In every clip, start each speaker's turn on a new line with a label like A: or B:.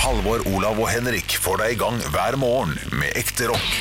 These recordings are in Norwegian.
A: Halvor, Olav og Henrik får deg i gang hver morgen med ekte rock.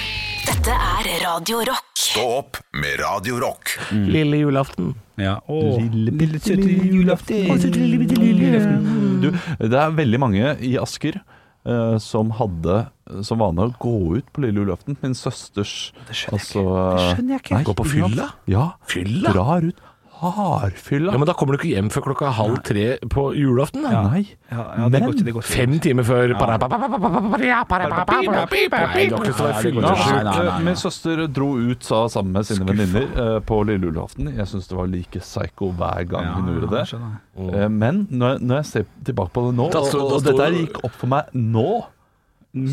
B: Dette er Radio Rock.
A: Stå opp med Radio Rock.
C: Lille julaften.
D: Ja. Åh,
E: Lille, bitte,
D: søte lille julaften.
E: Å, søte lille, bitte, lille julaften. Du, det er veldig mange i Asker eh, som hadde eh, som vane å gå ut på lille julaften. Min søsters Det skjønner
D: Altså,
E: jeg ikke. Det skjønner jeg ikke.
C: Gå på fylla?
E: Ja.
C: Fylla?
E: Drar ut hardfylla.
C: Ja, Men da kommer du ikke hjem før klokka halv tre på julaften. da.
E: Nei.
D: Ja, ja, det
E: Men-
D: går ikke, det går ikke.
C: Fem timer før para- pa- pa- pa- pa- pa- pa- pa- pa- pa- pa- pa- Nei, du har ikke lyst til å være
D: Nei, det går ikke.
E: Ja,
C: fyllesyk. Altså,
D: Nei, nei, nei, nei.
E: Min søster dro ut sa, sammen med sine venninner eh, på lille julaften. Jeg syns det var like psycho hver gang
D: Ja,
E: hun gjorde det.
D: skjønner jeg.
E: Eh, Men når jeg, når jeg ser tilbake på det nå,
C: Da
E: og,
C: sto- da
E: og
C: sto-
E: dette her gikk opp for meg nå,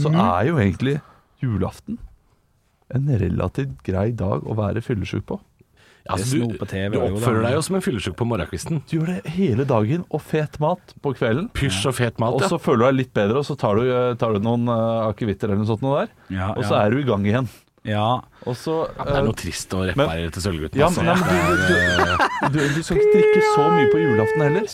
E: så
D: Mm.
E: er jo egentlig julaften en relativt grei dag å være fyllesyk på.
C: Altså,
D: Det
C: du,
D: sno på TV
C: du
D: er jo
C: oppfører
D: da-
C: deg jo som en fyllesyk på morgenkvisten.
E: Du gjør det hele dagen, og fet mat på kvelden.
C: Pysj og fet mat.
E: Og
C: Ja.
E: så føler du deg litt bedre, og så tar du, eh, tar du noen eh, akevitter eller noe sånt noe der.
D: Ja,
E: Og så
D: ja.
E: er du i gang igjen.
D: Ja.
E: Og så
C: Det er
E: eh,
C: noe trist å
E: men-
C: reparere til Sølvgutten.
E: Ja,
C: altså.
E: men, nei, men du, du, du, du skal ikke drikke så mye på julaften heller.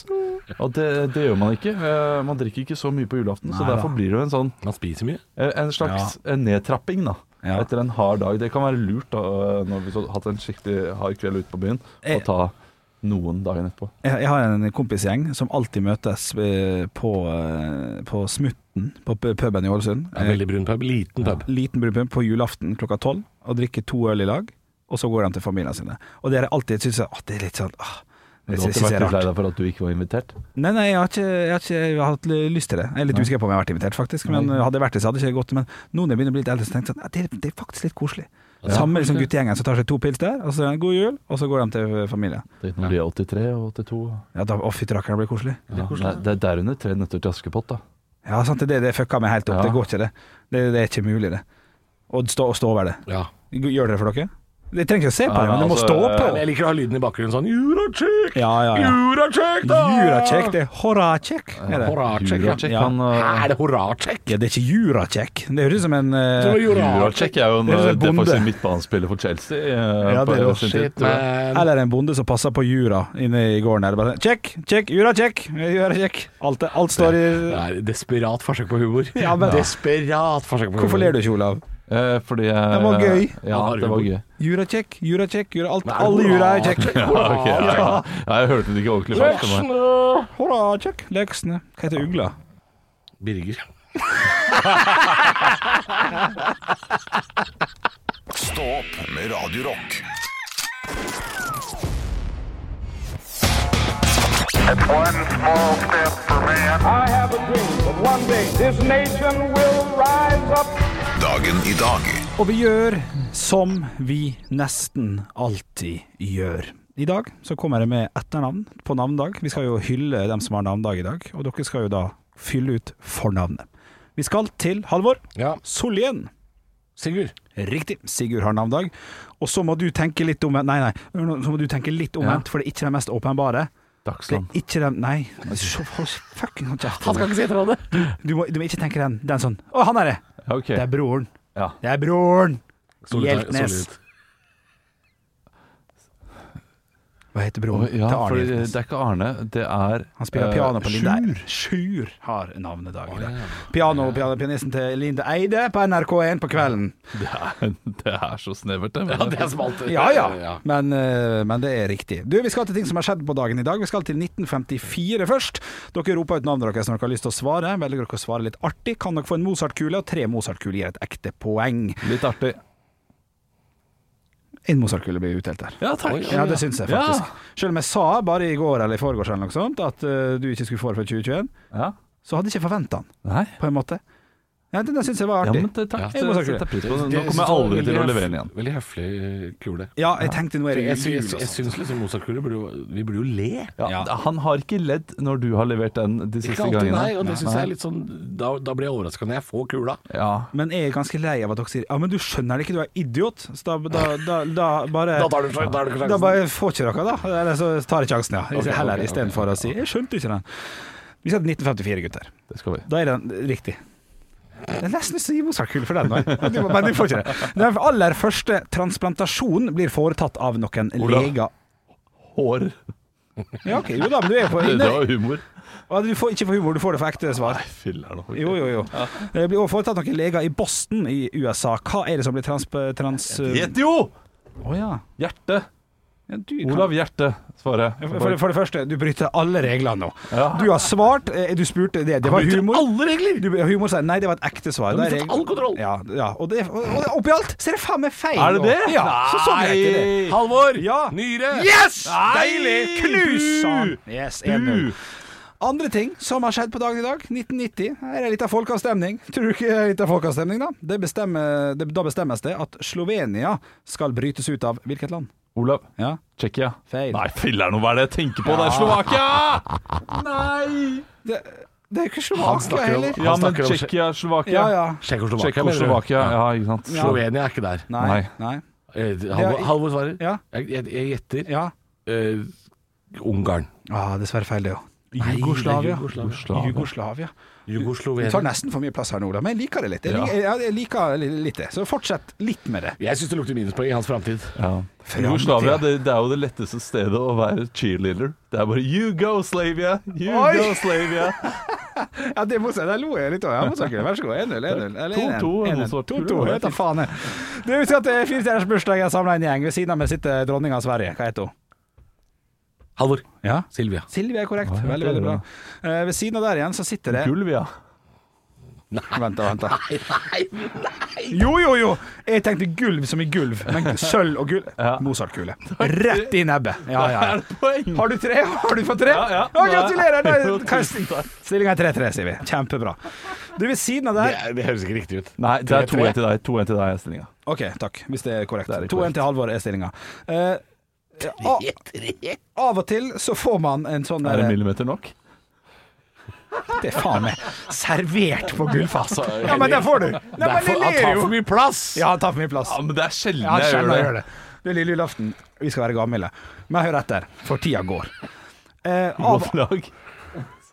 E: Og det, det gjør man ikke. Eh, Man drikker ikke så mye på julaften, så
D: Nei da.
E: derfor blir det jo en sånn
C: Man spiser mye.
E: En slags nedtrapping da
D: Ja.
E: etter en hard dag. Det kan være lurt da, eh, når vi har hatt en skikkelig hard kveld ute på byen, å
D: Eh.
E: ta noen dagen etterpå.
D: Jeg, jeg har en kompisgjeng som alltid møtes eh, på, eh, på Smutten, på p- puben i Ålesund. Eh,
C: Det er Veldig brun pub. Liten pub.
D: Liten brudpub på julaften klokka tolv, og drikker to øl i lag. Og så går de til familiene sine. Og det er alltid synes jeg, at det er litt sånn ah,
E: Du
D: det
E: har
D: synes
E: ikke
D: jeg
E: vært
D: er
E: litt lei
D: rart.
E: deg for at du ikke var invitert?
D: Nei, nei, jeg har ikke, jeg har ikke jeg har hatt lyst til det. Jeg er litt usikker på om jeg har vært invitert, faktisk. Men eh, Hadde jeg vært det, så hadde jeg ikke gått. Men nå når jeg begynner å bli litt eldre, så tenkte jeg sånn, ja, det, er- det er faktisk litt koselig. Samme liksom guttegjengen som tar seg to pils der, og så er det god jul, og så går de til familien.
E: Tenk når de er 83 og 82
D: Ja, da, å, fytti rakkeren, det blir koselig.
E: ja, Det er- det er derunder tre nøtter til Askepott, da.
D: Ja, sant, det, er det, det fucka meg helt opp.
E: Ja.
D: Det går ikke, det. det. Det er ikke mulig, det. Å stå, å stå over det.
C: Ja.
D: Gjør dere det for dere? Dere trenger ikke å se på
E: Ja,
D: det, men dere må
E: altså,
D: stå
E: eh,
D: på.
C: Men jeg liker å ha lyden i bakgrunnen sånn Juracek!
D: Ja, ja, ja.
C: Juracek, da!
D: Juracek, det er horacek. Er det?
C: Horacek, ja.
E: Juracek
D: Ja.
E: kan
C: Hæ,
E: eh,
C: er det horacek?
D: Ja, det er ikke juracek. Det høres ut som en
C: Det
D: eh,
C: var Juracek.
E: Juracek er jo en,
D: Det er en
E: det er faktisk
D: bonde.
E: en midtbanespiller for Chelsea. eh,
D: Ja,
E: på
D: det er jo
E: sin tid.
C: Shit, man.
D: Eller en bonde som passer på jura inne i gården. Der. Bare, Check, check, juracek, juracek. Alt, det- alt står i
C: Det er et desperat forsøk på humor.
D: Ja, men-
C: Desperat forsøk på humor.
D: Hvorfor ler du ikke, Olav?
E: Eh, Fordi jeg
D: Det var gøy.
E: Ja, det var gøy.
D: Juracek, juracek, jura, alt,
C: Men er det
D: alle jura er
C: horacek?
D: kjekk.
C: Ja,
E: Ja, ok, ja,
C: ja.
E: ja. Ja, Jeg hørte det ikke ordentlig først. men-
D: Horacek, leksene. Hva heter ugla?
C: Birger.
A: Stå opp med Radio Rock.
F: One small step for man.
G: I have a dream that one day this nation will rise up.
A: Dagen i dag.
D: Og vi gjør som vi nesten alltid gjør. I dag så kommer jeg med etternavn på navnedag. Vi skal jo hylle dem som har navnedag i dag, og dere skal jo da fylle ut fornavnet. Vi skal til Halvor
C: Ja.
D: Solhjell.
C: Sigurd.
D: Riktig, Sigurd har navnedag. Og så må du tenke litt omvendt, nei, nei, så må du tenke litt omvendt, for det er ikke den mest åpenbare. Det
E: Dagsland.
D: er ikke den Nei, så- hold fucking hold kjeft.
C: Han skal ikke si etter det.
D: Du må, du må ikke tenke den. Den sånn Å, han er det!
E: Ja, ok.
D: Det er broren.
E: Ja.
D: Det er broren!
C: Solid-
D: Hjeltnes.
C: solid.
D: Hva heter broren
E: Å, ja,
D: til
E: for
D: Arne
E: det
D: Hjeltnes?
E: er ikke Arne, det er
D: Han spiller
E: eh,
D: piano på Linda
E: Sjur.
D: Sjur har navnedag i dag. Piano, piano, pianisten til Linda Eide på NRK1 på kvelden.
E: Det er, det er så snevert, det.
C: Ja, det er smalt.
D: Ja ja, men, eh, men det er riktig. Du, Vi skal til ting som har skjedd på dagen i dag. Vi skal til 1954 først. Dere roper ut navnet deres når dere har lyst til å svare. Velger dere å svare litt artig, kan dere få en Mozart-kule, og tre Mozart-kuler gir et ekte poeng.
E: Litt artig.
D: En Mozart-kule blir utdelt her.
E: Ja, takk.
D: Ja, det syns jeg faktisk. Selv om jeg sa bare i går eller i forgårs eller noe sånt at eh, du ikke skulle få det før 2021,
E: Ja.
D: så hadde jeg ikke forventa den,
E: Nei.
D: på en måte. Ja, det det syns jeg var
E: Ja,
D: artig.
E: men det, takk.
C: Ja.
E: Det setter jeg pris på. Nå
C: Det-
E: kommer jeg aldri til å
C: veldig
E: levere den
C: høf-
E: igjen.
C: Veldig høflig eh, kule.
D: Ja, jeg tenkte nå er det
C: Jeg, sy-
D: jul.
C: jeg, sy- jeg
D: altså.
C: syns liksom Mozart-kuler burde jo Vi burde jo le.
E: Ja, han har ikke ledd når du har levert den de siste
C: Ikke alltid,
E: gangene.
C: nei. Og det syns jeg er litt sånn Da, da blir jeg overraska når jeg får kula.
E: Ja.
D: Men jeg er ganske lei av at dere sier Ja, men du skjønner det ikke, du er idiot. Så da, da, da, da bare
C: Da tar du, da er du ikke sjansen.
D: Da bare får ikke dere, da. Eller så tar jeg sjansen, ja.
C: Ok,
D: Heller
C: ok, ok.
D: istedenfor å si 'jeg skjønte ikke den'. Vi skal til 1954, gutter.
E: Det skal vi.
D: Da er den riktig. Det er nesten så Mozart-kule for den, nei. Men du- men du får ikke det. Den aller første transplantasjonen blir foretatt av noen
E: Olav.
D: leger.
E: Hår.
D: Ja, ok, jo da, men du er på
E: Det var humor.
D: Og Du får ikke for humor, du får det for ekte svar.
E: Filler'n. ok.
D: Jo, jo, jo. Det blir også foretatt noen leger i Boston i USA. Hva er det som blir trans... trans
E: Gjett jo!
D: Å ja.
E: Hjerte.
D: ja du kan-
E: Olav Hjerte, svarer jeg.
D: For, for, for det første, du bryter alle reglene nå.
E: Ja.
D: Du har svart, eh, du spurte det. Det var
E: bryter
D: humor.
E: alle regler!
D: Du, humor sier nei, det var et ekte svar.
E: Du har
D: Det er
E: mistet
D: regel-
E: all kontroll.
D: Ja, ja. Og, det, og, og oppi alt så er det faen meg feil.
E: Er det
D: nå.
E: det?
D: Ja, så sånn er det det.
E: Nei.
H: Halvor!
D: Ja.
H: Nyre!
D: Yes!
E: Nei!
D: Deilig! Knus han! Yes, 1-0.
E: Du!
D: Andre ting som har skjedd på dagen i dag, 1990. Her er litt av folkeavstemning. Tror du ikke det er litt av folkeavstemning, da? Det bestemmer, det, da bestemmes det at Slovenia skal brytes ut av hvilket land?
E: Olav.
D: Ja,
E: Tsjekkia.
D: feil.
E: Nei, filler'n, hva er det jeg tenker på? Det er Slovakia! Nei!
D: Det, det er jo ikke
H: Han
D: Slovakia
H: snakker om-
D: heller.
E: Ja,
H: Han
E: men
H: snakker om
E: Tsjekkia, Slovakia.
D: Ja, ja.
H: Tsjekkoslovakia.
E: Tsjekkoslovakia, ja, ikke sant.
D: Ja.
H: Slovenia er ikke der.
D: Nei.
E: Nei.
D: Nei.
H: Eh, Halvor, Halvor svarer.
D: Ja.
H: Jeg, jeg, jeg gjetter
D: Ja.
H: eh, Ungarn.
D: Ah, dessverre feil, det òg.
H: Nei, det er
D: Jugoslavia.
H: Jugoslavia.
D: Jugoslavia. Jugoslavia. Du tar
H: Jugoslovenia.
D: nesten for mye plass her nå, da, men jeg liker det litt. Jeg
H: Ja.
D: liker, ja, jeg liker li- litt det. Så fortsett litt med det.
H: Jeg syns det lukter minuspoeng i hans framtid.
E: Ja. Jugoslavia det, det er jo det letteste stedet å være cheerleader. Det er bare Jugoslavia, Jugoslavia.
D: Ja, det må jeg si. Der lo jeg litt òg. Jeg må snakke det. Vær så god. 1-0, 1-0. eller 1-1.
E: 2-2,
D: 1-1.
E: noe sånt.
D: 2-2. Jeg vet da faen, jeg. Det vil si at det er firestjerners bursdag. Jeg samler en gjeng. Ved siden av meg sitter dronninga av Sverige. Hva heter hun?
H: Halvor.
D: Ja.
H: Silvia.
D: Silvia er korrekt.
E: Ja,
D: Veldig,
E: det er
D: veldig bra. Eh, ved siden av der igjen så sitter det
E: Gulvia.
D: Vent, da. Vent, da. Jo, jo, jo! Jeg tenkte gulv som i gulv, men sølv og gull
E: Ja.
D: Mozart-kule. Rett i nebbet. Ja, ja.
E: Er det poeng?
D: Har du tre? Har du fått tre?
E: Ja, ja.
D: Å, gratulerer! Da
E: Jo,
D: er-
E: tusen takk.
D: Stillinga er 3-3, sier vi. Kjempebra. Du, ved siden av
H: Det,
D: der
H: er- det høres ikke riktig ut.
E: Nei, det er
H: 3-3.
E: 2-1 til deg. 2-1 til deg, stillinga.
D: OK, takk, hvis det er korrekt.
E: Det er
D: 2-1 til Halvor er stillinga. Eh, a- av og til så får man en sånn
E: Er det
D: der
E: millimeter nok?
D: Det er faen meg servert på gullfast.
H: Altså,
D: Ja, men der får du! Nei, men
H: Derfor,
D: jeg
H: han tar
D: ler jo!
H: for mye plass!
D: Ja, han tar for mye plass.
E: Ja, men det er sjelden
D: Ja,
E: jeg
D: skjønner jeg
E: gjør
D: gjør
E: det.
D: det. Det er lille julaften. Vi skal være gamle. Men hør etter, for tida går. Eh, av...
E: Godt lag.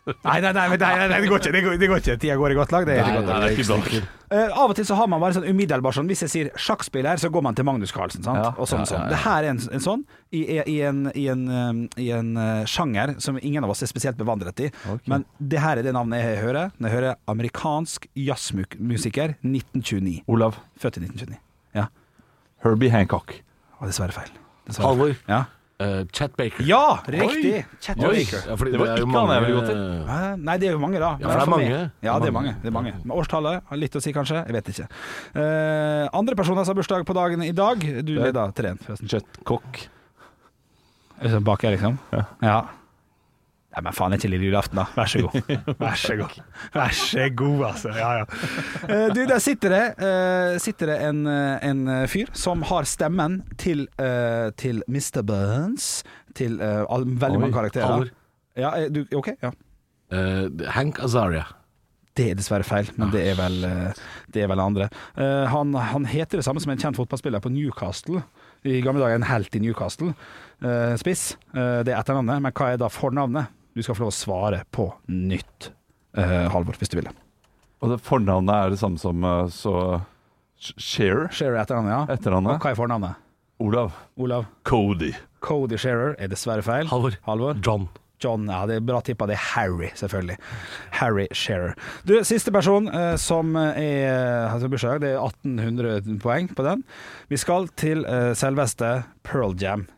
D: nei, nei, nei, men nei, nei, nei, det går ikke. Det går, det går ikke. Tida går i godt lag. Det er
H: Nei,
D: ikke
H: nei,
D: godt.
H: det er ikke bra.
D: Eh, av og til så har man bare sånn umiddelbar sånn Hvis jeg sier sjakkspiller, så går man til Magnus Carlsen. Sant?
E: Ja,
D: og sånn,
E: ja, ja,
D: sånn.
E: ja.
D: Det her er en, en sånn i, i en, i en, um, i en eh, sjanger som ingen av oss er spesielt bevandret i. Men det her er det navnet jeg hører når jeg hører amerikansk jazzmusiker 1929.
E: Olav.
D: Født i 1929. Ja.
E: Herbie Hancock.
D: Og dessverre feil. Dessverre.
H: Halvor.
D: feil. Ja.
H: eh, Chet Baker.
D: ja, riktig! Chet
H: Oi.
D: Baker.
H: Ja, fordi
E: Det var
H: jo
E: ikke han jeg ville gått
H: mange-
D: Hæ? Nei, det er jo mange, da.
H: Ja, for det er
D: for meg-
H: mange.
D: Ja, det er mange. Det er mange. Men årstallet har litt å si, kanskje. Jeg vet ikke. Eh, andre personer som har bursdag på dagen i dag. Du leder 3-1, forresten.
E: Jetcock.
D: Liksom Bak her, liksom? Ja. Nei, men faen, det er ikke lille julaften, da. Vær så god. Vær så god, Vær så god altså. Ja, ja. Eh, du, der sitter det, eh, sitter det en, eh, en fyr som har stemmen til, eh, til Mr. Burns. Til eh, all, veldig mange karakterer.
H: Halvor.
D: Ja, eh, du, OK? Ja.
H: Eh, Hank Azaria.
D: Det er dessverre feil, men det er vel, eh, det er vel andre. Eh, Han, han heter det samme som en kjent fotballspiller på Newcastle. I gamle dager en helt i Newcastle. Eh, Spiss. Eh, Det er etternavnet, men hva er da fornavnet? Du skal få lov å svare på nytt, eh, Halvor, hvis du vil.
E: Og det fornavnet er det samme som eh, så Sh- Shearer.
D: Shearer er etternavnet, ja. Og
E: Etternavnet.
D: hva er fornavnet?
E: Olav.
D: Olav.
E: Cody.
D: Cody Shearer er dessverre feil.
H: Halvor.
D: Halvor.
H: John.
D: John, ja, det er bra tippa. Det er Harry, selvfølgelig. Harry Shearer. Du, siste person eh, som er eh, har sin bursdag, det er 1800 poeng på den. Vi skal til eh, selveste Pearl Jam.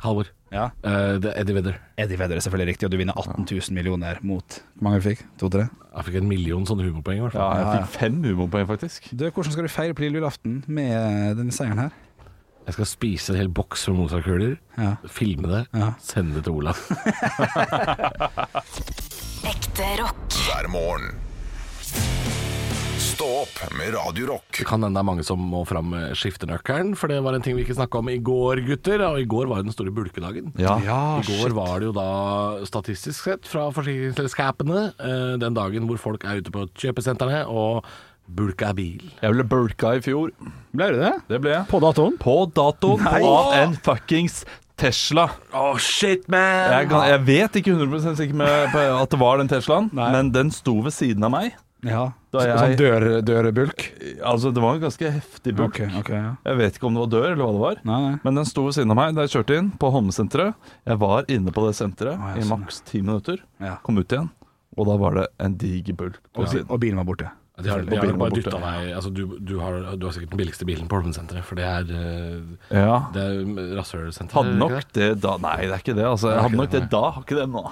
H: Halvor.
D: Ja.
H: Eh, det er Eddie Vedder.
D: Eddie Vedder er selvfølgelig riktig, og du vinner 18 000 millioner mot Hvor mange fikk? To-tre?
H: Jeg fikk en million sånne humorpoeng, i hvert
E: Ja,
H: fall.
E: jeg fikk fem humorpoeng, faktisk.
D: Du, hvordan skal du feire på lille julaften med eh, denne seieren her?
H: Jeg skal spise en hel boks med Mozart-kuler,
D: Ja.
H: filme det,
D: Ja.
H: sende det til Olav.
B: Ekte rock.
A: hver morgen. Stå opp med Radio Rock.
H: Det kan hende det er mange som må fram med skiftenøkkelen, for det var en ting vi ikke snakka om i går, gutter. Og i går var jo den store bulkedagen.
E: Ja.
H: I går var det jo da statistisk sett fra forsikringsselskapene eh, den dagen hvor folk er ute på kjøpesentrene og bulka bil.
E: Jeg ble burka i fjor.
D: Ble du det?
E: Det ble jeg.
D: På datoen?
E: På datoen
D: Nei.
E: av en fuckings Tesla.
H: Oh shit, man!
E: Jeg, kan, jeg vet ikke 100 sikker med på at det var den Teslaen, men den sto ved siden av meg.
D: Ja.
E: Da
D: Sånn
E: jeg,
D: dør, dørrebulk?
E: altså, det var en ganske heftig bulk.
D: Ok, ok, ja.
E: Jeg vet ikke om det var dør, eller hva det var.
D: Nei, nei.
E: Men den sto ved siden av meg da jeg kjørte inn på Holmesenteret. Jeg var inne på det senteret
D: Å, ja,
E: i
D: sånn,
E: maks ti minutter.
D: Ja.
E: Kom ut igjen. Og da var det en diger bulk på siden.
D: Og bilen var borte.
H: De har, de
E: Og
H: har
E: bilen var
H: bare
E: borte.
H: dyttet deg altså, du, du, har, du har sikkert den billigste bilen på Holmensenteret, for det er, eh,
E: Ja.
H: det er rasshølsenteret.
E: Hadde nok
H: ikke det?
E: det da Nei, det er ikke det. Altså,
H: er
E: jeg hadde
H: ikke
E: nok
H: det,
E: det da, har ikke det nå.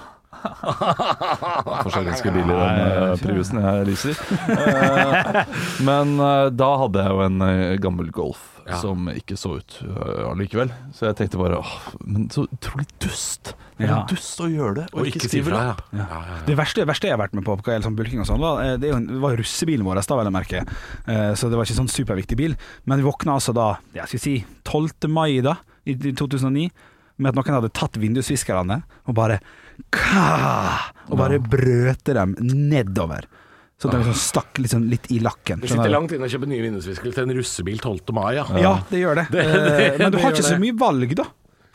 E: Forskjellige biler i den eh, priusen jeg riser i. Eh, Men eh, da hadde jeg jo en eh, gammel Golf
H: Ja.
E: som ikke så ut eh, allikevel. Så jeg tenkte bare åh, men så utrolig dust. Det er
D: Ja.
E: en dust å gjøre det, og,
H: Og
E: ikke
H: ikke si
E: skrive
H: fra,
E: lapp.
H: ja. Ja, ja, ja.
D: Det verste, det verste jeg har vært med på, hva gjelder sånn bulking og sånn, var, eh, det er jo en- det var jo russebilen vår, da, vel å merke. Eh, Så det var ikke sånn superviktig bil. Men vi våkna altså da, jeg skal si, 12. mai da, i i 2009, med at noen hadde tatt vindusviskerne og bare ka, Og bare brøte dem nedover. Så de liksom stakk liksom litt i lakken.
H: Ah. Det
D: skjønner
H: sitter
D: du?
H: langt inne å kjøpe nye vindusviskere til en russebil 12. mai, ja.
D: Ja, det gjør det.
H: det-
D: Eh, Men du
H: det
D: har
H: gjør
D: ikke så
H: det.
D: mye valg, da.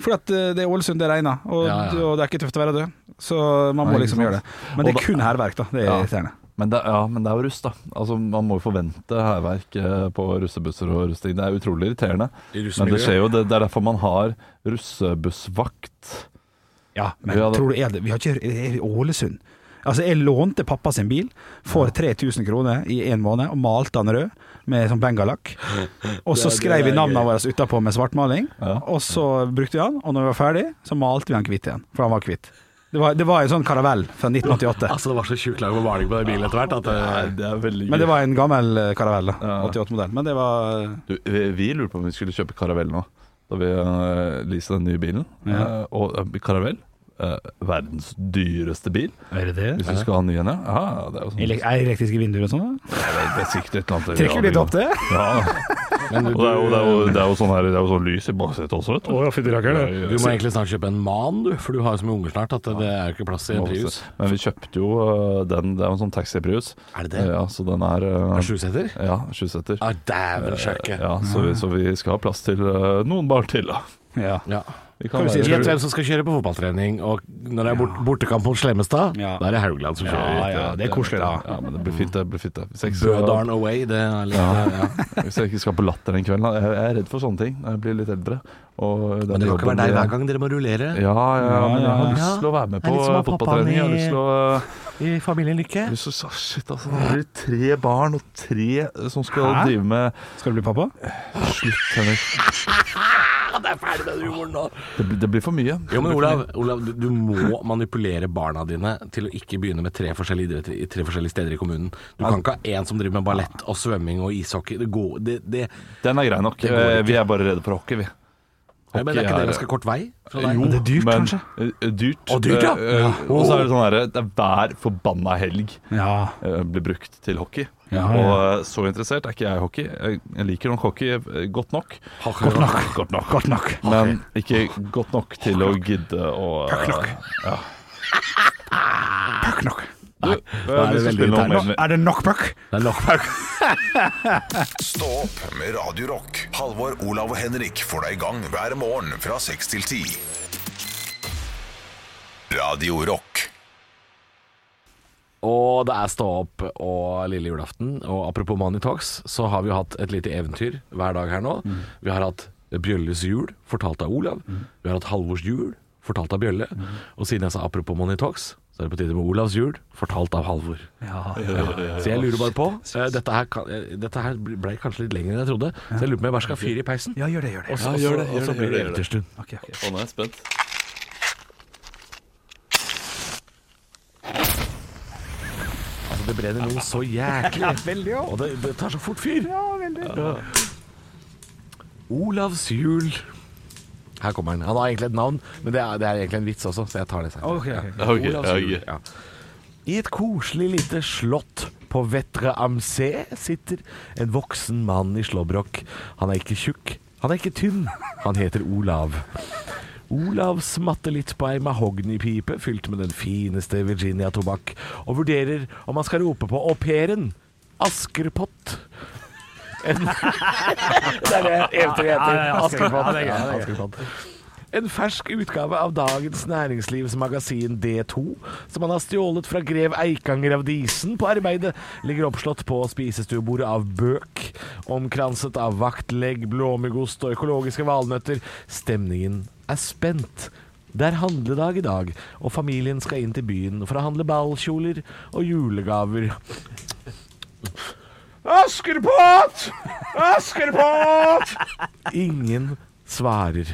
D: For at eh, det er Ålesund, det regner, og,
H: Ja, ja.
D: og det er ikke tøft å være død. Så man må
E: Nei, ikke
D: liksom
E: sant.
D: gjøre det. Men det
E: Og
D: er
E: da-
D: kun hærverk, da. Det er
E: Ja.
D: irriterende.
E: Men det, ja, men det er jo russ, da. Altså, man må jo forvente hærverk eh, på russebusser og rusting. Det er utrolig irriterende.
H: I russemiljøet.
E: Men det skjer jo, det, det er derfor man har russebussvakt.
D: Ja, men
E: Vi hadde-
D: tror du er det? Vi har ikke er det Ålesund. Altså, jeg lånte pappa sin bil for 3000 kroner i en måned, og malte han rød med sånn bengalakk. Og
H: Det-
D: så
H: det
D: skrev vi
H: er
D: navnene
H: gøy.
D: våre utapå med svartmaling, og så brukte vi han, og når vi var ferdig, så malte vi han hvitt igjen, for han var hvitt. Det var, det var en sånn karavell fra 1988.
H: Altså, det var så tjukt lag med maling på den bilen etter hvert at eh,
E: det er veldig
D: Men det var en gammel eh, karavell, da. 88-modell. Men det var eh,
E: Du, vi, vi lurte på om vi skulle kjøpe karavell nå, da vi uh, leaset den nye bilen. Eh, og eh, karavell eh, verdens dyreste bil,
D: Er det det?
E: hvis du skal ha ny en. Ja, Ja, det er jo sånn
D: Elektriske vinduer og sånn? da?
E: Det er sikkert et eller annet
D: Trekker du litt opp det?
E: Ja.
H: men du,
E: Og det er jo, det er jo, det er jo sånn her, det er jo sånn lys i baksetet også, vet du.
H: du må egentlig snart kjøpe en man, du, for du har jo så mye unger snart at det er jo ikke plass i en Prius.
E: Men vi kjøpte jo øh, den, det er jo en sånn taxi-prius.
H: Er det det?
E: Ja, så den er øh,
H: Er det sjuseter?
E: Ja, sjuseter.
H: Ah, dæven sjakke.
E: Ja, så vi, så vi skal ha plass til øh, noen barn til, da.
D: Ja.
H: Ja.
E: Vi
D: Kan du si-
H: Gjett hvem som skal kjøre på fotballtrening, og når det er bort, bortekamp mot Slemmestad,
D: Ja.
H: da er det Haugland som kjører.
D: Ja, ja, det er koselig, da.
E: Ja, men det blir fint, det blir fint. det. Hvis jeg ikke skal-
H: Bødalen away, det er litt ja.
E: Hvis jeg ikke skal på latter den kvelden. da. Jeg jeg er redd for sånne ting når jeg blir litt eldre. Og den
H: Men det kan ikke
E: jobben
H: være deg
E: blir-
H: hver gang dere må rullere
E: Ja, ja, ja, men jeg har
D: Ja,
E: lyst til å være med
H: Det er
E: på
H: litt som å ha pappaen
E: fotballtrening. Jeg har
H: i-
E: lyst til å øh,
H: i Familien Lykke.
E: jeg har lyst til å- Shit, altså. Det blir tre barn og tre som skal
D: Hæ?
E: drive med
D: Skal du bli pappa?
E: Slutt, Henrik.
H: Ja, det er ferdig med den humoren nå.
E: Det, blir- det blir for mye.
H: Jo, men Olav, Olav du, du må manipulere barna dine til å ikke begynne med tre forskjellige idretter i tre forskjellige steder i kommunen. Du kan ikke ha én som driver med ballett og svømming og ishockey. Det går det, det,
E: Den er grei nok.
H: Det går ikke.
E: Eh, Vi er bare redde for hockey, vi.
H: Nei, men Det er ikke det ganske kort vei fra deg?
D: det er dyrt,
E: men,
D: kanskje?
E: eh, Dyrt.
H: Å, dyrt, ja.
E: Eh, eh,
H: Ja.
E: Og så er det sånn herre Det er hver forbanna helg
D: Ja.
E: eh, blir brukt til hockey.
D: Ja,
E: og
D: ja.
E: eh, så interessert er ikke jeg i hockey. Jeg jeg liker nok hockey eh, godt nok.
H: Godt nok.
E: Godt nok.
D: Godt nok.
E: Men ikke godt nok til å gidde å eh,
D: Puck nok.
E: eh, Vi skal spille noe mer.
D: Er det nok puck?
H: Det er nok.
A: Stå opp med Radio Rock. Halvor, Olav og Henrik får deg i gang hver morgen fra 6 til 10. Radio Rock.
H: Og det er stå opp og lille julaften. Og apropos Money Talks, så har vi jo hatt et lite eventyr hver dag her nå. Vi har hatt Bjølles jul, fortalt av Olav. Vi har hatt Halvors jul, fortalt av Bjølle. Og siden jeg sa apropos Money Talks, så er det på tide med Olavs jul, fortalt av Halvor. Så jeg lurer bare på eh, Dette her, kan- eh, dette her ble kanskje litt lenger enn jeg trodde, så jeg lurer på om jeg bare skal fyre i peisen.
D: Ja, gjør det, gjør det.
H: Og så,
E: Ja, gjør
H: og
E: det,
H: så-
E: gjør
H: og så
E: det,
H: blir det
E: gjør det, gjør det.
H: eventyrstund.
D: Ok, ok.
E: Å, nå er jeg spent.
H: Altså, det brenner noe så jæklig. Og det, det tar så fort fyr. Ja, veldig. Olavs jul. Her kommer han. Han har egentlig et navn, men det er, det er egentlig en vits også, så jeg tar det senere.
D: Ok, ok, ok.
H: Ja.
E: Ok,
H: Olavs
E: ok.
H: jul. Ja. I et koselig lite slott på Vetre Amsé sitter en voksen mann i slåbrok. Han er ikke tjukk, han er ikke tynn. Han heter Olav. Olav smatter litt på ei mahognipipe fylt med den fineste Virginia-tobakk, og vurderer om han skal rope på au pairen Askerpott. En det er det eventyret heter. Askerpott. Ja, Askerpott. En fersk utgave av Dagens Næringslivs magasin D2, som han har stjålet fra grev Eikanger av Disen på arbeidet, ligger oppslått på spisestuebordet av bøk, omkranset av vaktlegg, blåmuggost og økologiske valnøtter. Stemningen er spent. Det er handledag i dag, og familien skal inn til byen for å handle ballkjoler og julegaver.
I: Askepott! Askepott!
H: Ingen svarer.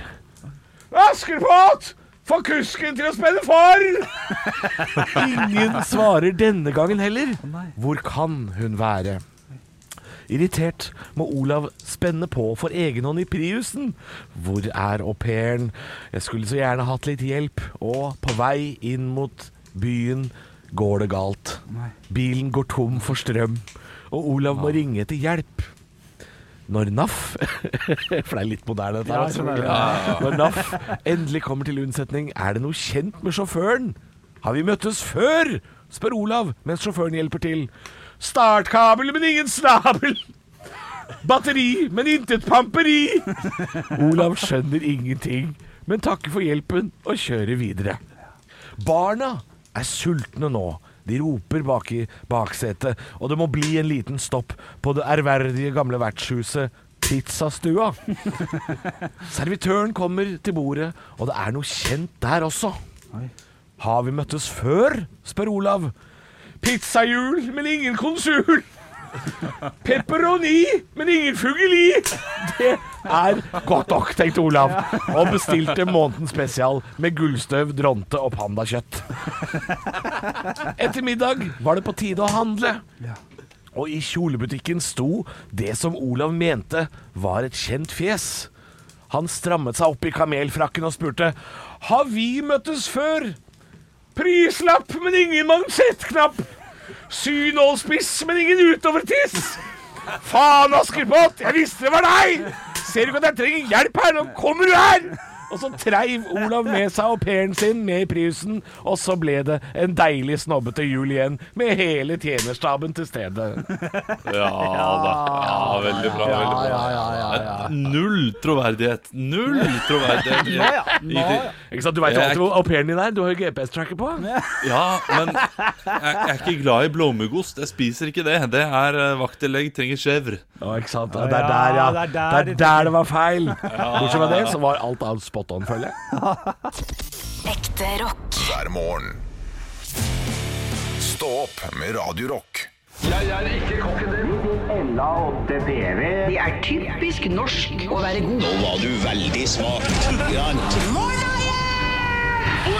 I: Askepott! Få kusken til å spille for!
H: Ingen svarer denne gangen heller. Hvor kan hun være? Irritert må Olav spenne på for egenhånd i Priusen. Hvor er au pairen? Jeg skulle så gjerne hatt litt hjelp. Og på vei inn mot byen går det galt. Bilen går tom for strøm, og Olav må ringe etter hjelp. Når NAF For det er litt moderne, dette. her, altså. selvfølgelig. Når NAF endelig kommer til unnsetning, er det noe kjent med sjåføren? Har vi møttes før? spør Olav mens sjåføren hjelper til. Startkabel, men ingen snabel. Batteri, men intet pamperi. Olav skjønner ingenting, men takker for hjelpen og kjører videre. Barna er sultne nå. De roper bak i baksetet, og det må bli en liten stopp på det ærverdige gamle vertshuset Pizzastua. Servitøren kommer til bordet, og det er noe kjent der også. Har vi møttes før? spør Olav.
I: Pizzahjul, men ingen konsul. Pepperoni, men ingen fugli.
H: er godt nok, tenkte Olav, og bestilte månedens spesial med gullstøv, dronte og pandakjøtt. Etter middag var det på tide å handle. Og i kjolebutikken sto det som Olav mente var et kjent fjes. Han strammet seg opp i kamelfrakken og spurte Har vi møttes før?
I: Prislapp, men ingen mansettknapp. Synålspiss, men ingen utovertiss. Faen, Askepott, jeg visste det var deg! Ser du ikke at jeg trenger hjelp her? Nå kommer du her!
H: Og så treiv Olav med seg au pairen sin med i Priusen, og så ble det en deilig snobbete jul igjen med hele tjenerstaben til stede.
J: Ja da. Ja, veldig bra. veldig bra. Null troverdighet. Null troverdighet. i- i det.
H: Ikke sant, Du veit
J: Jeg-
H: alltid hvor au pairen din er, du har jo GPS-tracker på.
J: Ja, men jeg, jeg er ikke glad i blåmuggost. Jeg spiser ikke det. Det er eh, vakttillegg trenger chèvre.
H: Ja, ikke sant? Det er der, ja. Det er der det, var feil. Bortsett fra det, så var alt annet spot on, føler jeg.
B: Ekte rock.
A: hver morgen. Stå opp med Radio Rock.
K: Det er typisk norsk å være god. Nå var du veldig smak.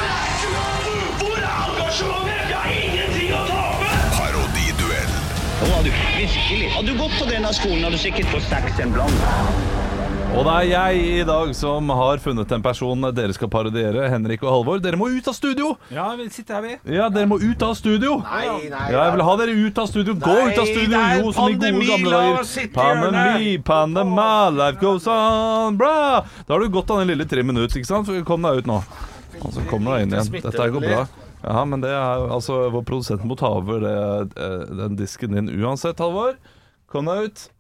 I: Hvor er engasjementet? Jeg har ingenting å tape!
A: Parodiduell
K: Nå var du virkelig. Hadde du gått på denne skolen, hadde du sikkert fått seks en blant.
E: Og det er jeg i dag som har funnet en person dere skal parodiere. Henrik og Halvor, dere må ut av studio!
D: Ja, vi sitter her, vi.
E: Ja, dere må ut av studio!
K: Nei, nei,
E: Ja, jeg vil ha dere ut av studio. Gå
I: Nei,
E: ut av studio!
I: det er
E: Jo, som i gode
I: pandemi,
E: gamle
I: la
E: dager.
I: oss sitte i hjørnet.
E: Pandemi, pandema, life goes on, bra! Da har du gått av den lille tre minutter, ikke sant? Så Kom deg ut nå. Og så kommer du deg inn igjen. Dette går bra. Ja, men det er altså Vår produsent må ta over det, eh, den disken din uansett, Halvor. Kom deg ut.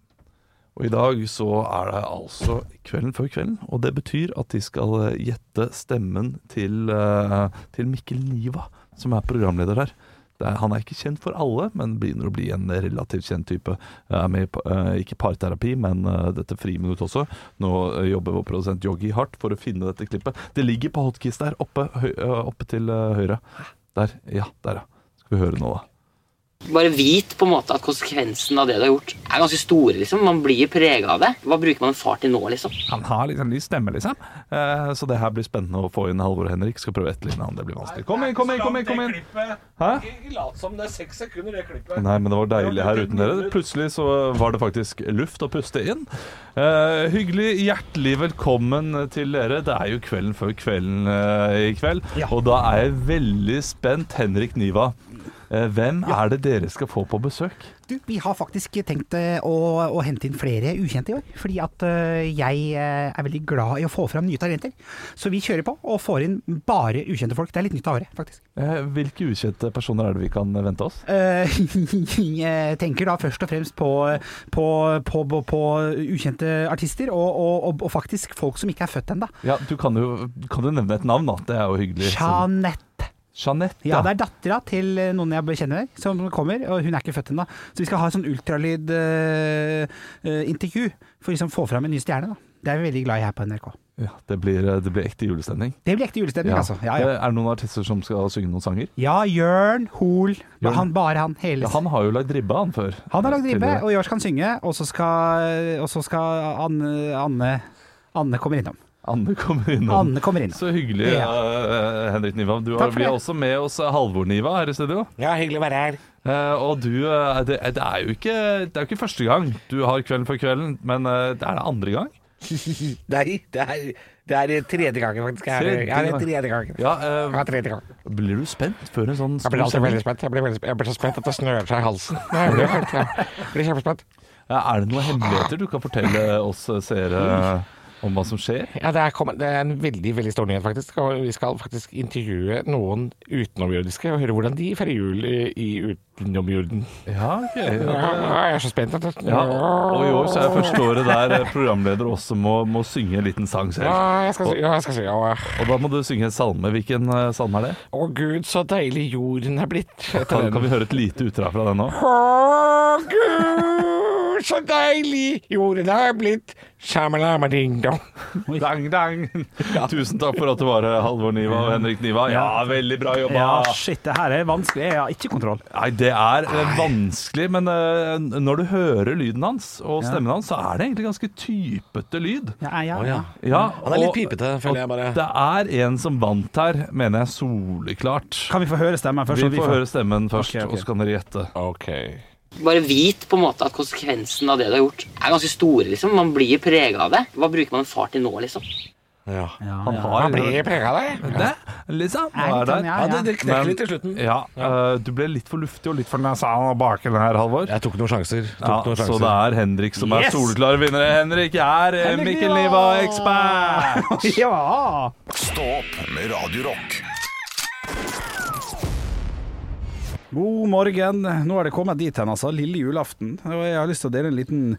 E: Og i dag så er det altså kvelden før kvelden, og det betyr at de skal eh, gjette stemmen til, eh, til Mikkel Niva, som er programleder her. Det er, han er ikke kjent for alle, men begynner å bli en relativt kjent type. Jeg er med i, pa- eh, ikke parterapi, men eh, dette friminutt også. Nå eh, jobber vår produsent Joggi hardt for å finne dette klippet. Det ligger på hotkeys der, oppe, høy, eh, oppe til eh, høyre. Der, ja. Der, ja. Skal vi høre nå, da.
K: Bare vit på en måte at konsekvensen av det du har gjort, er ganske store. liksom. Man blir prega av det. Hva bruker man far til nå, liksom?
E: Han har liksom lys stemme, liksom. Eh, så det her blir spennende å få inn Halvor Henrik. Skal prøve å etterligne han. Det blir vanskelig. Kom inn, kom inn, kom inn! kom inn Hæ?
I: Ikke lat som det er seks sekunder, det klippet.
E: Nei, men det var deilig her uten dere. Plutselig så var det faktisk luft å puste inn. Eh, hyggelig, hjertelig velkommen til dere. Det er jo kvelden før kvelden eh, i kveld, og da er jeg veldig spent. Henrik Niva, eh, hvem er det dere skal få på besøk?
C: Du, vi har faktisk tenkt eh, å, å hente inn flere ukjente i år. Fordi at eh, jeg eh, er veldig glad i å få fram nye talenter. Så vi kjører på og får inn bare ukjente folk. Det er litt nytt av året, faktisk.
E: Eh, hvilke ukjente personer er det vi kan vente oss?
C: Eh, jeg tenker da først og fremst på, på, på, på, på ukjente artister, og, og, og, og faktisk folk som ikke er født ennå.
E: Ja, du kan jo, kan jo nevne et navn, da. Det er jo hyggelig.
C: Jeanette.
E: Jeanette.
C: Ja, det er dattera til eh, noen jeg kjenner som kommer, og hun er ikke født ennå. Så vi skal ha et sånn eh, ultralydintervju for å liksom få fram en ny stjerne. da. Det er vi veldig glad i her på NRK.
E: Ja, det blir, eh, det blir ekte julestemning.
C: Det blir ekte julestemning, altså. Ja, ja.
E: Det Er det noen artister som skal synge noen sanger?
C: Ja, Jørn Hoel. Han, bare han. Hele
E: Ja, han har jo lagd ribba, han før. eh,
C: Han har lagd ribbe,
E: Tidligere.
C: og i år skal han synge, og så skal, eh, og så skal Anne, Anne Anne kommer innom.
E: Anne kommer innom.
C: Anne kommer innom.
E: Så hyggelig,
C: Ja.
E: eh, Henrik Nivam. Du
C: Takk
E: har,
C: for
E: vi har
C: det.
E: også med oss Halvor Niva her i studio.
L: Ja, hyggelig å være her.
E: Eh, og du, eh, det, det er jo ikke, det er jo ikke første gang du har Kvelden før kvelden, men eh, det er det andre gang.
L: Nei, det er, det er tredje gangen, faktisk. Jeg er- Ja, det er tredje gangen.
E: Ja, eh,
L: Ja, tredje gang.
E: Blir du spent før en sånn
L: Jeg
C: altså,
L: blir alltid
E: sending?
L: veldig spent. Jeg blir, veldig, jeg blir så spent at det snører seg i halsen. Jeg blir, jeg blir kjempespent.
E: Ja, Er det noen hemmeligheter du kan fortelle oss eh, seere om hva som skjer?
L: Ja, det er, kommet, det er en veldig veldig stor nyhet, faktisk. Og vi skal faktisk intervjue noen utenomjordiske og høre hvordan de feirer jul i, i utenomjorden.
E: Ja,
L: ja, jeg er så spent. at det-
E: Ja, og i år så er første året der eh, programleder også må, må synge en liten sang selv.
L: Ja, jeg skal sy- ja, jeg skal sy- ja.
E: Og da må du synge en salme. Hvilken eh, salme er det?
L: Å gud, så deilig jorden er blitt. etter
E: Kan,
L: den.
E: kan vi høre et lite utdrag fra den nå?
L: Å, gud, så deilig jorden har blitt. Shamalama ding dong.
E: Dang, dang. Tusen takk for at du var her, Halvor Niva og Henrik Niva. Ja, veldig bra jobba.
D: Ja, shit, det her er vanskelig. Jeg har ikke kontroll.
E: Nei, det er eh, vanskelig, men eh, når du hører lyden hans og stemmen hans, så er det egentlig ganske typete lyd.
C: Ja, ja,
E: Å,
C: ja.
E: og- og Det er en som vant her, mener jeg soleklart.
D: Kan vi få høre stemmen først?
E: Vi
D: og
E: får høre stemmen først,
D: Ok, ok.
E: og så kan dere gjette.
K: Bare vit på en måte at konsekvensen av det du har gjort, er ganske store. liksom. Man blir prega av det. Hva bruker man far til nå, liksom?
E: Han
K: ja.
E: har
K: Man blir prega av
E: det. liksom.
K: Er
E: Han
K: litt
E: er der.
K: sånn, ja, Ja, det- det knekker
E: Men-
K: litt i slutten.
E: Ja, eh, du ble litt for luftig og litt for nasal baki den her, Halvor. Jeg
H: tok noen sjanser.
E: ja,
H: noen
E: Så
H: sjanser.
E: det er Henrik som
H: Yes!
E: er soleklare vinnere. Henrik er eh,
A: Henrik
E: Mikkel
A: Niva!
E: Niva-ekspert!
C: ja!
A: Stå opp med Radio Rock.
D: God morgen. Nå er det kommet dit hen, altså. Lille julaften. Og jeg har lyst til å dele en liten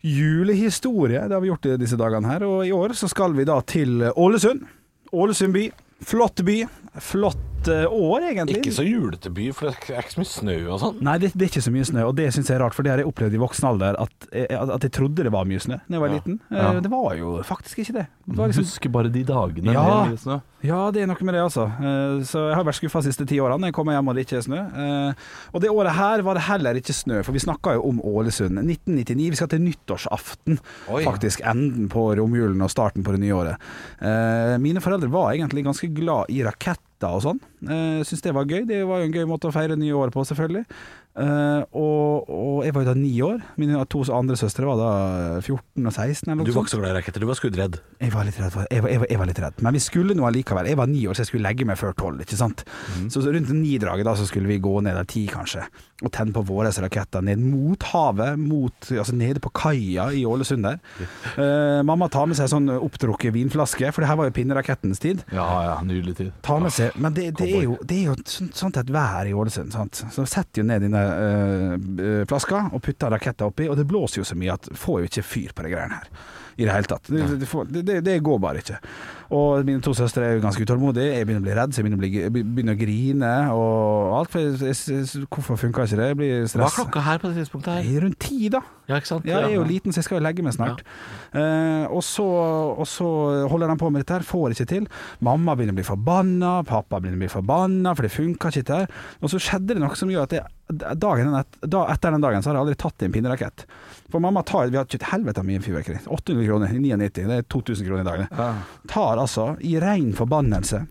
D: julehistorie. Det har vi gjort i disse dagene her. Og i år så skal vi da til Ålesund. Ålesund by. Flott by. Flott eh, år, egentlig.
H: Ikke så julete by, for det er ikke så mye snø og sånn.
D: Nei, det, det er ikke så mye snø, og det syns jeg er rart, for det har jeg opplevd i voksen alder, at, jeg- at at jeg trodde det var mye snø da jeg var
E: Ja.
D: liten.
E: Ja.
D: Eh, Det var jo faktisk ikke det. det var
E: Du
D: liksom,
E: husker bare de dagene
D: Ja.
E: med mye snø.
D: ja, det er noe med det, altså. Eh, Så jeg har vært skuffa de siste ti årene. Jeg kommer hjem og det ikke er snø. Eh, Og det året her var det heller ikke snø, for vi snakka jo om Ålesund. 1999. Vi skal til nyttårsaften,
H: Oi.
D: faktisk. Enden på romjulen og starten på det nye året. Eh, Mine foreldre var egentlig ganske glad i raketter og sånn. Eh, Syns det var gøy. Det var jo en gøy måte å feire nye året på, selvfølgelig. Eh, og, og jeg var jo da ni år. Mine to andre søstre var da 14 og 16. Eller noe
H: Du var
D: sånt.
H: ikke så glad i raketter, du var skuddredd.
D: Jeg var litt redd, for, jeg var, jeg var, jeg var litt redd. men vi skulle nå allikevel. Jeg var ni år, så jeg skulle legge meg før tolv. Ikke sant? Så, så rundt ni-draget da, så skulle vi gå ned der ti, kanskje, og tenne på våre raketter ned mot havet, mot, altså nede på kaia i Ålesund der. Eh, mamma tar med seg sånn opptrukket vinflaske, for det her var jo pinnerakettens tid.
E: Ja, ja, nydelig tid.
D: Ta med seg, Men det, det er jo, det er jo sånn, sånt et vær i Ålesund. Sant? Så setter jo ned denne øh, flaska og putter raketter oppi, og det blåser jo så mye at får jo ikke fyr på de greiene her. I det hele tatt. Det, det, får- det, det, det går bare ikke. Og mine to søstre er jo ganske utålmodige. Jeg begynner å bli redd, så jeg begynner å, bli, begynner å grine og alt. For jeg, jeg, jeg, hvorfor funka ikke det? Jeg blir
H: Hva er
D: stressa.
H: klokka her på det tidspunktet her?
D: Nei, rundt ti, da.
H: Ja, ikke sant?
D: Ja, jeg er jo
H: Ja.
D: liten, så jeg skal jo legge meg snart. Eh, og, så, og så holder de på med dette her, får ikke til. Mamma begynner å bli forbanna, pappa begynner å bli forbanna, for det funka ikke dette her. Og så skjedde det noe som gjør at jeg, dagen, et- da, etter den dagen så har jeg aldri tatt i en pinnerakett. For mamma tar Vi har ikke et helvete av mye fyrverkeri. 800 kroner i 99, det er 2000 kroner i dagen. Tar altså, i rein forbannelse,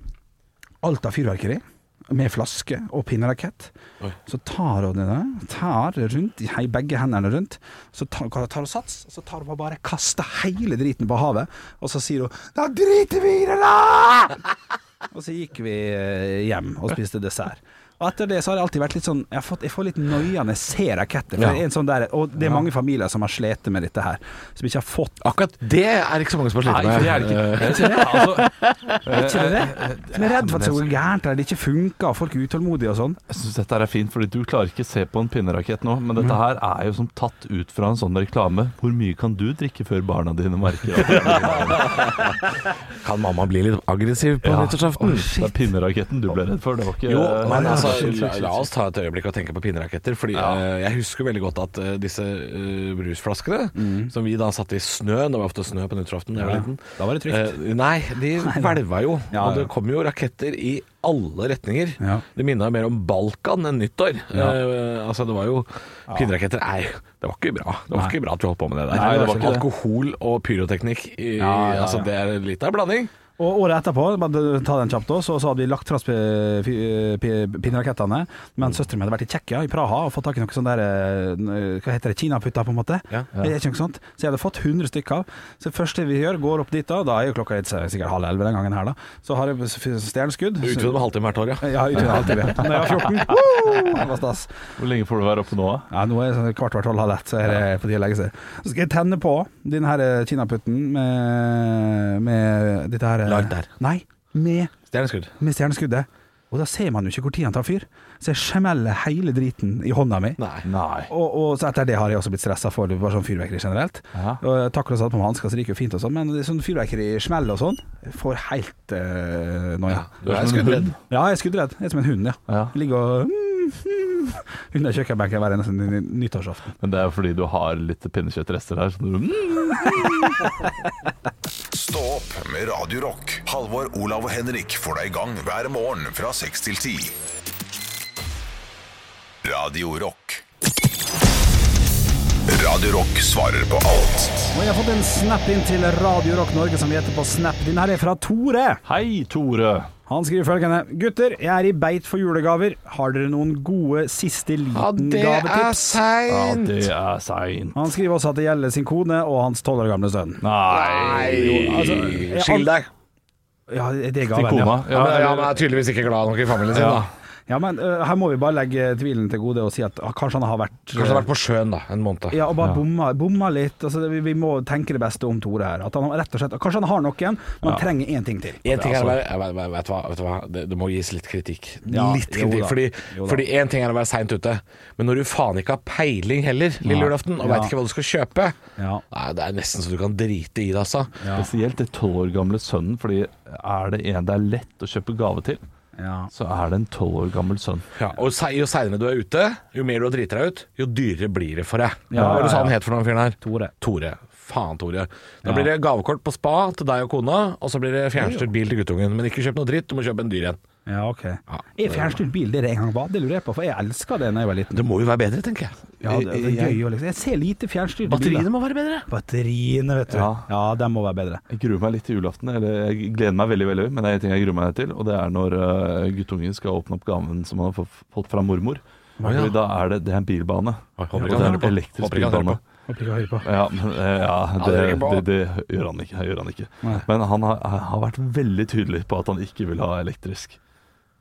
D: alt av fyrverkeri. Med flaske og pinnerakett. Så tar hun det der, tar rundt, i begge hendene rundt, så tar, tar hun sats, og så tar hun og bare kaster hele driten på havet, og så sier hun Da driter vi i det, da! Og så gikk vi eh, hjem og spiste dessert. Og etter det så har jeg alltid vært litt sånn Jeg, har fått, jeg får litt noia når jeg ser raketter. For
H: Ja.
D: det er en sånn der, og det er mange familier som har slitt med dette her, som ikke har fått
H: Akkurat det er ikke så mange som har slitt
D: Nei,
H: med.
D: det er det ikke.
H: Eh,
D: Er det ikke det? Er ikke det det?
E: altså, eh,
D: Men jeg er redd for at det går gærent, eller det ikke funker, og folk er utålmodige og sånn.
E: Jeg syns dette her er fint, fordi du klarer ikke se på en pinnerakett nå, men dette her er jo som tatt ut fra en sånn reklame. Hvor mye kan du drikke før barna dine merker at
H: Eh, Kan mamma bli litt aggressiv på nyttårsaften?
E: det er Mm. pinneraketten du ble redd for, det var ikke
H: Jo,
E: eh,
H: men altså, altså, la, la oss ta et øyeblikk og tenke på pinneraketter. Fordi eh, Jeg husker veldig godt at eh, disse eh, brusflaskene, som vi da satte i snø Det var ofte snø på nyttårsaften da jeg var
D: Mm. Ja.
H: liten.
D: Da var det trygt.
H: Eh, nei, de hvelva jo.
D: Ja,
H: Og
D: ja.
H: det kom jo raketter i alle retninger.
D: Ja.
H: Det minna mer om Balkan enn nyttår.
D: Ja.
H: Eh, altså, det var jo Pinneraketter Nei, det var ikke bra. Det var
D: Nei.
H: ikke bra at vi holdt på med det der.
D: Nei, det var
H: det var
D: ikke det.
H: Alkohol og pyroteknikk, i,
D: Ja, ja,
H: Altså,
D: ja.
H: det er litt av en blanding.
D: Og året etterpå, bare ta den kjapt også, så hadde vi lagt fra oss pi- eh, pi- pi- pinnerakettene.
H: Mm.
D: Men søsteren min hadde vært i Tsjekkia, i Praha, og fått tak i noen sånne der, eh, hva heter det, kinaputter, på en måte. Det er ikke noe sånt. Så jeg hadde fått 100 stykker av. Så det første vi gjør, går opp dit, da, da er jo klokka litt, eh, sikkert halv elleve den gangen her, da. Så har jeg s- f- stjerneskudd.
H: Utvidet med halvtime hvert år, ja.
D: Ja, utvidet med halvtime. Når jeg var 14. Woo! Det var stas.
E: Hvor lenge får du være oppe nå? da?
D: Ja, nå er det sånn kvart hvert halv halv ett, så er det på tide å legge seg. Så skal jeg tenne på denne her eh, kinaputten med, med dette her eh,
H: Lighter.
D: Nei, med,
H: Stjerneskudd.
D: med stjerneskuddet. Og da ser man jo ikke hvor tida tar fyr, så jeg smeller hele driten i hånda mi.
E: Nei.
D: Og, og så etter det har jeg også blitt stressa for bare sånn fyrverkeri generelt.
E: Ja.
D: Og jeg takler å satt på meg hansker, så det gikk jo fint og sånn, men det er sånn fyrverkerismell og sånn jeg får helt uh, noia.
H: Du er skuddredd.
D: Ja, jeg er skuddredd. Jeg er som en hund, ja. Jeg ligger og mm, mm, under kjøkkenbenken hver eneste ny- ny- nyttårsaften.
E: Men det er jo fordi du har litt pinnekjøttrester her. Så du, mm.
A: Stå opp med Radio Rock. Halvor, Olav og Henrik får deg i gang hver morgen fra 6 til 10. Radio Rock. Radio Rock svarer på alt.
D: Og jeg har fått en snap inn til Radio Rock Norge som vi heter på Snap. Den her er fra Tore.
E: Hei, Tore.
D: Han skriver følgende. Gutter, jeg er i beit for julegaver. Har dere noen gode siste liten-gavetips?
E: Ja,
H: seint!
E: det er seint.
D: han skriver også at det gjelder sin kone og hans tolv år gamle sønn.
E: Nei.
D: Jeg-
H: Skill deg.
D: Ja, det er
E: Til
D: gaven,
E: kona.
D: ja.
H: altså, Ja, men, ja,
E: eller-
H: men er tydeligvis ikke glad nok i familien sin, da.
D: ja men øh, her må vi bare legge tvilen til gode og si at ah, kanskje han har vært
H: Kanskje han har vært på sjøen da, en måned.
D: Ja, og bare bomma, bomma litt. Altså, det- vi, vi må tenke det beste om Tore her. At han har rett og slett Kanskje han har noen, men han trenger én ting til.
H: En ting er å være, jeg vet, vet, vet, du hva, vet du hva, det, det må gis litt kritikk.
D: Ja,
H: litt
D: jo
H: kritikk,
D: da.
H: fordi,
D: Jo da.
H: fordi en ting er å være seint ute, men når du faen ikke har peiling heller, lille julaften, og
D: Ja.
H: veit ikke hva du skal kjøpe,
D: Ja.
H: nei, det er nesten så du kan drite i det, altså.
E: Spesielt det tolv år gamle sønnen, fordi er det en det er lett å kjøpe gave til,
D: Ja.
E: så er det en tolv år gammel sønn.
H: Ja, og se- Jo seinere du er ute, jo mer du har driti deg ut, jo dyrere blir det for deg.
D: Ja,
H: Hva var det du
D: ja,
H: sa han het for noen fyren her?
D: Tore.
H: Tore. Faen, Tore. Da blir det gavekort på spa til deg og kona, og så blir det fjernstyrt bil til guttungen. Men ikke kjøp noe dritt, du må kjøpe en dyr en.
D: Ja, ok. Er fjernstyrt bil det det en gang var? Det lurer jeg på, for jeg elska det da jeg var liten.
H: Det må jo være bedre, tenker jeg.
D: Ja, det, det er gøy å liksom. Jeg ser lite fjernstyrte
H: Batteriene
D: biler.
H: må være bedre.
D: Batteriene, vet du. Ja,
E: Ja.
D: de må være bedre.
E: Jeg gruer meg litt til julaften. Eller jeg gleder meg veldig, veldig, men det er en ting jeg gruer meg til. Og det er når eh, guttungen skal åpne opp gaven som han har fått- fått fra mormor. Fordi da er det, det er en bilbane.
H: Oi, håper
E: Og
H: ikke
E: det
H: han
E: er
H: hører
E: en
H: på.
E: elektrisk
H: Håper ikke han hører
E: bilbane.
H: på.
D: Håper ikke jeg hører på.
E: Ja, men, eh, ja det,
H: hører på.
E: det, det, gjør han ikke. det Gjør han ikke.
D: Nei.
E: Men han har, har vært veldig tydelig på at han ikke vil ha elektrisk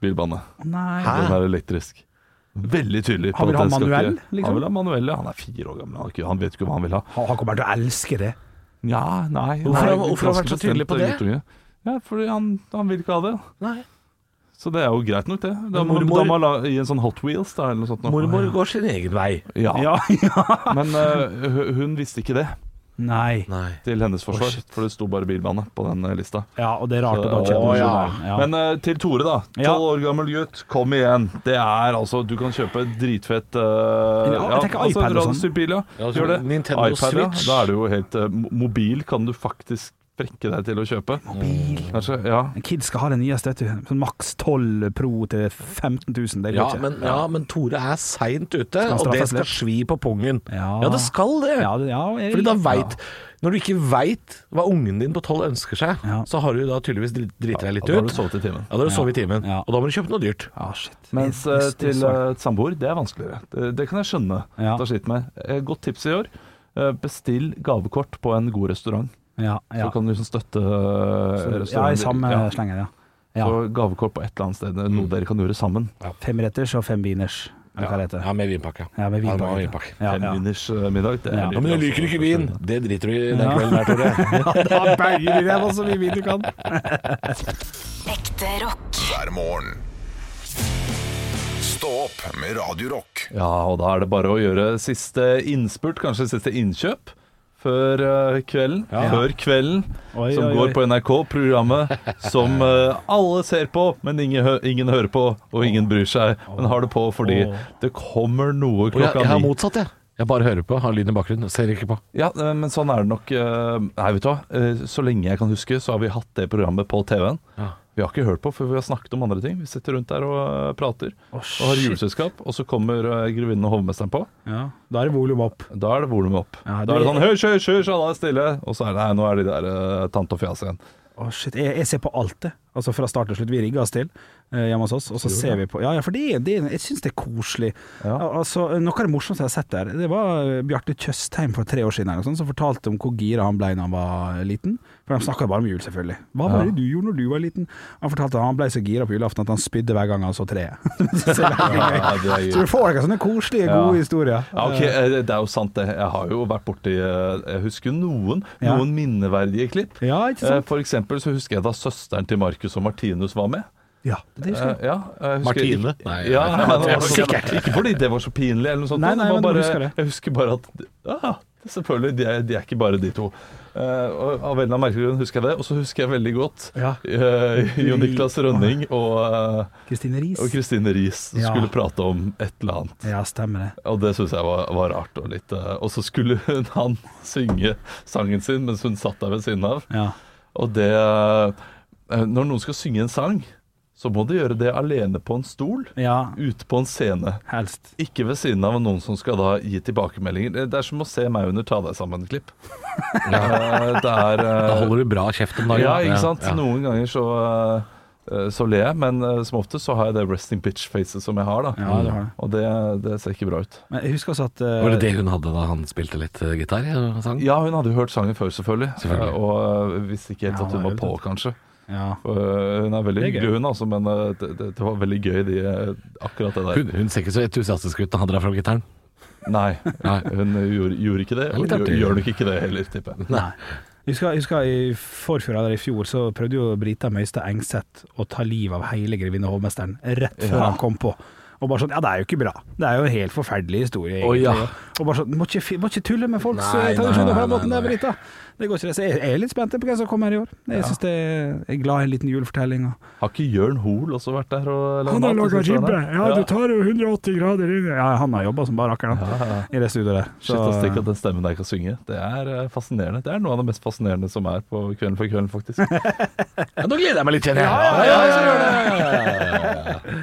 E: bilbane.
D: Å, Nei.
E: Den er elektrisk. Veldig tydelig. på
D: Han vil
E: at
D: ha
E: den skal
D: manuell,
E: ikke,
D: liksom?
E: Han vil ha manuell, ja. Han er fire år gammel, han, har ikke- han vet ikke hva han vil ha.
D: Han han kommer til å elske det.
E: Ja, nei
H: Hvorfor har-
E: nei,
H: hvorfor har han vært så
E: ganske
H: tydelig på
E: bestemt, guttunge. Ja, fordi han, han vil ikke ha det.
H: Nei.
E: Så det er jo greit nok, det. Da må
H: mormor-
E: da må han la- i en sånn Hot Wheels, da, eller noe sånt. nå.
H: Mormor går sin egen vei.
E: Ja.
D: Ja, ja.
E: Men eh, hu- hun visste ikke det,
D: Nei.
H: Nei.
E: til hennes forsvar. for det sto bare bilbane på den eh, lista.
D: Ja, og det er rart å bare
E: Så-
D: kjøpe
E: Å,
D: en
E: ja.
D: journal. Ja.
E: Men eh, til Tore, da.
D: Ja.
E: Tolv år gammel gutt, kom igjen. Det er altså Du kan kjøpe drítfett uh,
D: Ja, jeg tenker iPad og sånn.
E: bil, ja.
H: Ja, altså,
E: Gjør det.
H: Nintendo Switch.
E: Ja. Da er du jo helt eh, mo- Mobil kan du faktisk frekke deg til å kjøpe.
D: Mobil.
E: Kanskje, ja.
D: Kids skal ha det nyeste, vet du. Sånn maks 12 Pro til 15 000, det går
H: Ja
D: ikke.
H: men, ja, men Tore er seint ute,
D: han
H: og det
D: straffes
H: skal
D: litt?
H: svi på pungen.
D: Ja.
H: Ja, det skal det.
D: Ja, det- ja, jeg-
H: Fordi da vet, Når du ikke veit hva ungen din på tolv ønsker seg,
D: Ja.
H: så har du da tydeligvis drit- driti deg litt
E: Ja, da har
H: ut.
E: du sovet i timen.
H: Ja, da har du sovet i timen.
D: Ja.
H: Og da må du kjøpe noe dyrt.
D: Ja, shit.
E: Mens
D: Det er- det er
E: eh, til
D: svart.
E: eh, et samboer, det er vanskeligere. Det, det kan jeg skjønne.
D: Ja.
E: Ta slitt med. Eh, Godt tips i år. eh, Bestill gavekort på en god restaurant.
H: eh,
D: ja, ja.
E: Så kan du liksom støtte eh,
D: ja, i
E: restauranten.
D: samme
E: Ja.
D: slenger, ja. ja. Mm.
E: Så gavekort på et eller annet sted, eh, noe dere kan gjøre sammen.
D: Femretters og femviners, eller hva det heter.
H: Ja, med vinpakke.
D: Ja, med
H: Ja,
D: vinpakke.
H: med vinpakke.
D: Ja, ja.
E: Femminners eh, middag. Det er
D: Ja.
E: dyrt,
H: Ja, men jeg
E: altså.
H: liker ikke vin! Det driter du i den
D: Ja.
H: kvelden der, Tore.
D: Da banger du ræva så mye vin du kan.
B: Ekte rock.
A: Hver morgen. Stå opp med Radio Rock.
E: Ja, og da er det bare å gjøre siste innspurt, kanskje siste innkjøp, før eh, kvelden.
J: Ja.
E: Før kvelden
J: Oi,
E: som
J: oi,
E: går
J: oi.
E: på NRK, programmet som eh, alle ser på, men ingen, hø ingen hører på, og ingen bryr seg. Men har det på fordi
H: Åh.
E: det kommer
H: Og
E: noe
H: jeg,
E: klokka
H: jeg har
E: ni.
H: motsatt, jeg. Jeg bare hører på, har lyden i bakgrunnen, ser ikke på.
E: Ja, eh, men sånn er det nok. eh, Nei, vet du hva. Eh, Så lenge jeg kan huske, så har vi hatt det programmet på TV-en.
H: Ja.
E: Vi har ikke hørt på, for vi har snakket om andre ting. Vi sitter rundt der og eh, prater. og har
D: shit.
E: juleselskap. Og så kommer eh, grevinnen og hovmesteren på.
D: Ja, Da er det volum opp.
E: Da er det volum opp.
D: Ja,
E: Da er det sånn
D: høy
E: Hysj, hysj, hysj, alle er stille. Og så er det Nei, nå er de der eh, tante og fjas igjen.
D: Å, shit. Jeg, jeg ser på alt det. Altså Fra start til slutt. Vi rigger oss til eh, hjemme hos oss, og så
E: Gjør
D: ser vi
E: det.
D: på. Ja, ja, for det, det, jeg syns det er koselig. Al- Altså, noe av det morsomste jeg har sett der, det var eh, Bjarte Tjøstheim for tre år siden eller noe sånt, som fortalte om hvor gira han ble da han var eh, liten. For de snakka bare om jul, selvfølgelig. Hva var
E: Ja.
D: det du gjorde når du var liten? Han fortalte at han ble så gira på julaften at han spydde hver gang han så treet. Så det er
E: Ja, det er
D: gøy. så du får noen sånne koselige, gode historier.
E: Ja, ok, eh, Det er jo sant, det. Jeg har jo vært borti eh, Jeg husker noen
D: Ja.
E: noen minneverdige klipp.
D: Ja, ikke sant?
E: Eh, For eksempel så husker jeg da søsteren til Marcus og Martinus var med.
D: Ja, det husker jeg.
E: Eh, ja, jeg husker-
D: Martine?
E: Ikke,
D: Nei,
E: ja,
D: nei,
E: nei,
D: nei,
E: altså, det var
D: det var
E: sikkert.
D: sikkert.
E: Ikke fordi det var så pinlig, eller noe sånt.
D: Nei, nei,
E: det var
D: men du
E: bare,
D: husker det.
E: Jeg husker bare at ja, det er Selvfølgelig, de er, de er ikke bare de to. Eh, og Av en eller annen merkelig grunn husker jeg det. Og så husker jeg veldig godt
D: Ja.
E: eh, Jo Niklas Rønning og eh,
D: Kristine Riis.
E: Og Kristine Riis som
D: Ja.
E: skulle prate om et eller annet.
D: Ja, stemmer det.
E: Og det syns jeg var, var rart. Og, litt, eh, og så skulle hun, han synge sangen sin mens hun satt der ved siden av.
D: Ja.
E: Og det eh, Når noen skal synge en sang, så må de gjøre det alene på en stol. Ute på en scene. Ikke ved siden av noen som skal da gi tilbakemeldinger. Det er som å se meg under Ta deg sammen-klipp. Eh, det er eh,
H: Da holder du bra kjeft om dagen.
E: Ja, ikke sant.
H: Ja.
E: Noen ganger så eh, så ler jeg, men eh, som ofte så har jeg det resting bitch-facet som jeg har. da Mm.
D: Ja, du har det.
E: Og det, det ser ikke bra ut.
D: Men jeg husker også at eh,
H: Var det det hun hadde da han spilte litt eh, gitar? eh, Sang?
E: Ja, hun hadde jo hørt sangen før, selvfølgelig.
H: Selvfølgelig.
E: Eh, Og eh, visste ikke helt
H: Ja,
E: at hun
H: hun
E: var
H: har
E: på, kanskje.
D: Ja.
E: Eh, Hun er veldig
H: Det er gøy.
E: hyggelig, hun, altså, men eh, det, det, det var veldig gøy, de, eh, akkurat det der.
H: Hun, hun ser ikke så entusiastisk ut når han drar fram gitaren.
E: Nei, hun gjorde, gjorde ikke det.
H: Det er
E: Og
H: litt
E: gjør,
H: artig.
E: gjør nok ikke det heller, tipper jeg.
D: Nei. Jeg husker, jeg husker i forfjor eller i fjor så prøvde jo Brita Møystad Engseth å ta livet av hele grevinne hovmesteren rett før
E: Ja.
D: han kom på. Og bare sånn Ja, det er jo ikke bra. Det er jo en helt forferdelig historie,
H: Å,
D: egentlig.
H: ja.
D: Og bare sånn Må ikke, fi- må ikke tulle med folks
H: Nei,
D: eh,
H: nei,
D: tradisjoner på
H: nei,
D: den måten
H: nei,
D: der, Brita. Det går ikke det. Så jeg jeg er litt spent på hvem som kommer her i år. Jeg
E: Ja.
D: synes det jeg er glad i en liten julefortelling. Og.
E: Har ikke Jørn Hoel også vært der og lagd
D: Han har
E: mat,
D: laga
E: synes jeg,
D: ribbe!
E: da?
D: Ja, du tar jo 180 grader inn Ja, han har jobba som bare rakkeren han, i det studioet der.
E: Shit, ass, tenk at den stemmen der kan synge. Det er eh, fascinerende. Det er noe av det mest fascinerende som er på Kvelden for kvelden, faktisk.
H: Ja, nå gleder jeg meg litt, kjenner
E: Ja,
H: jeg.
E: ja, ja, ja, ja, ja, ja, ja.